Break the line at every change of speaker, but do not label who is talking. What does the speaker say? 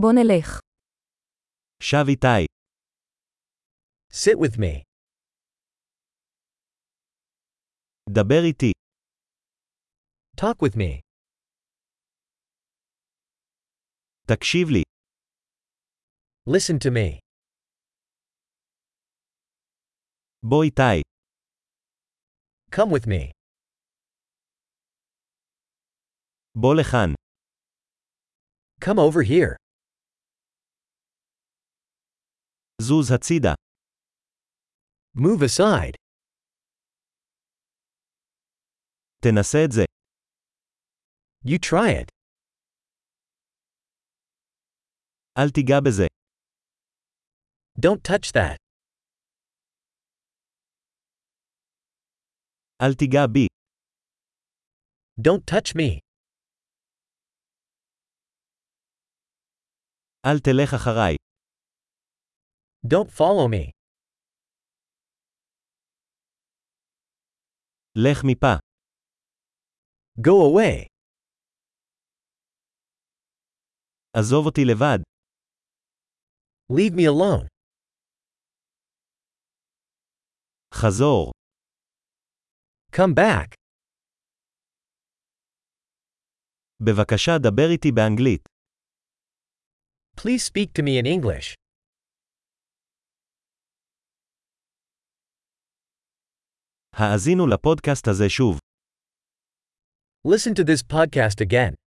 בוא נלך.
שב איתי.
Sit with me.
דבר איתי.
Talk with me.
תקשיב לי.
Listen to me.
בוא איתי.
Come with me.
בוא לכאן.
Come over here.
זוז הצידה.
Move aside.
תנסה את זה.
You try it.
אל תיגע בזה.
Don't touch that.
אל תיגע בי.
Don't touch me.
אל תלך אחריי.
Don't follow me.
לך מפה.
Go away.
עזוב אותי לבד.
Leave me alone.
חזור.
Come back.
בבקשה דבר איתי באנגלית.
Please speak to me in English.
האזינו לפודקאסט הזה שוב.
Listen to this podcast again.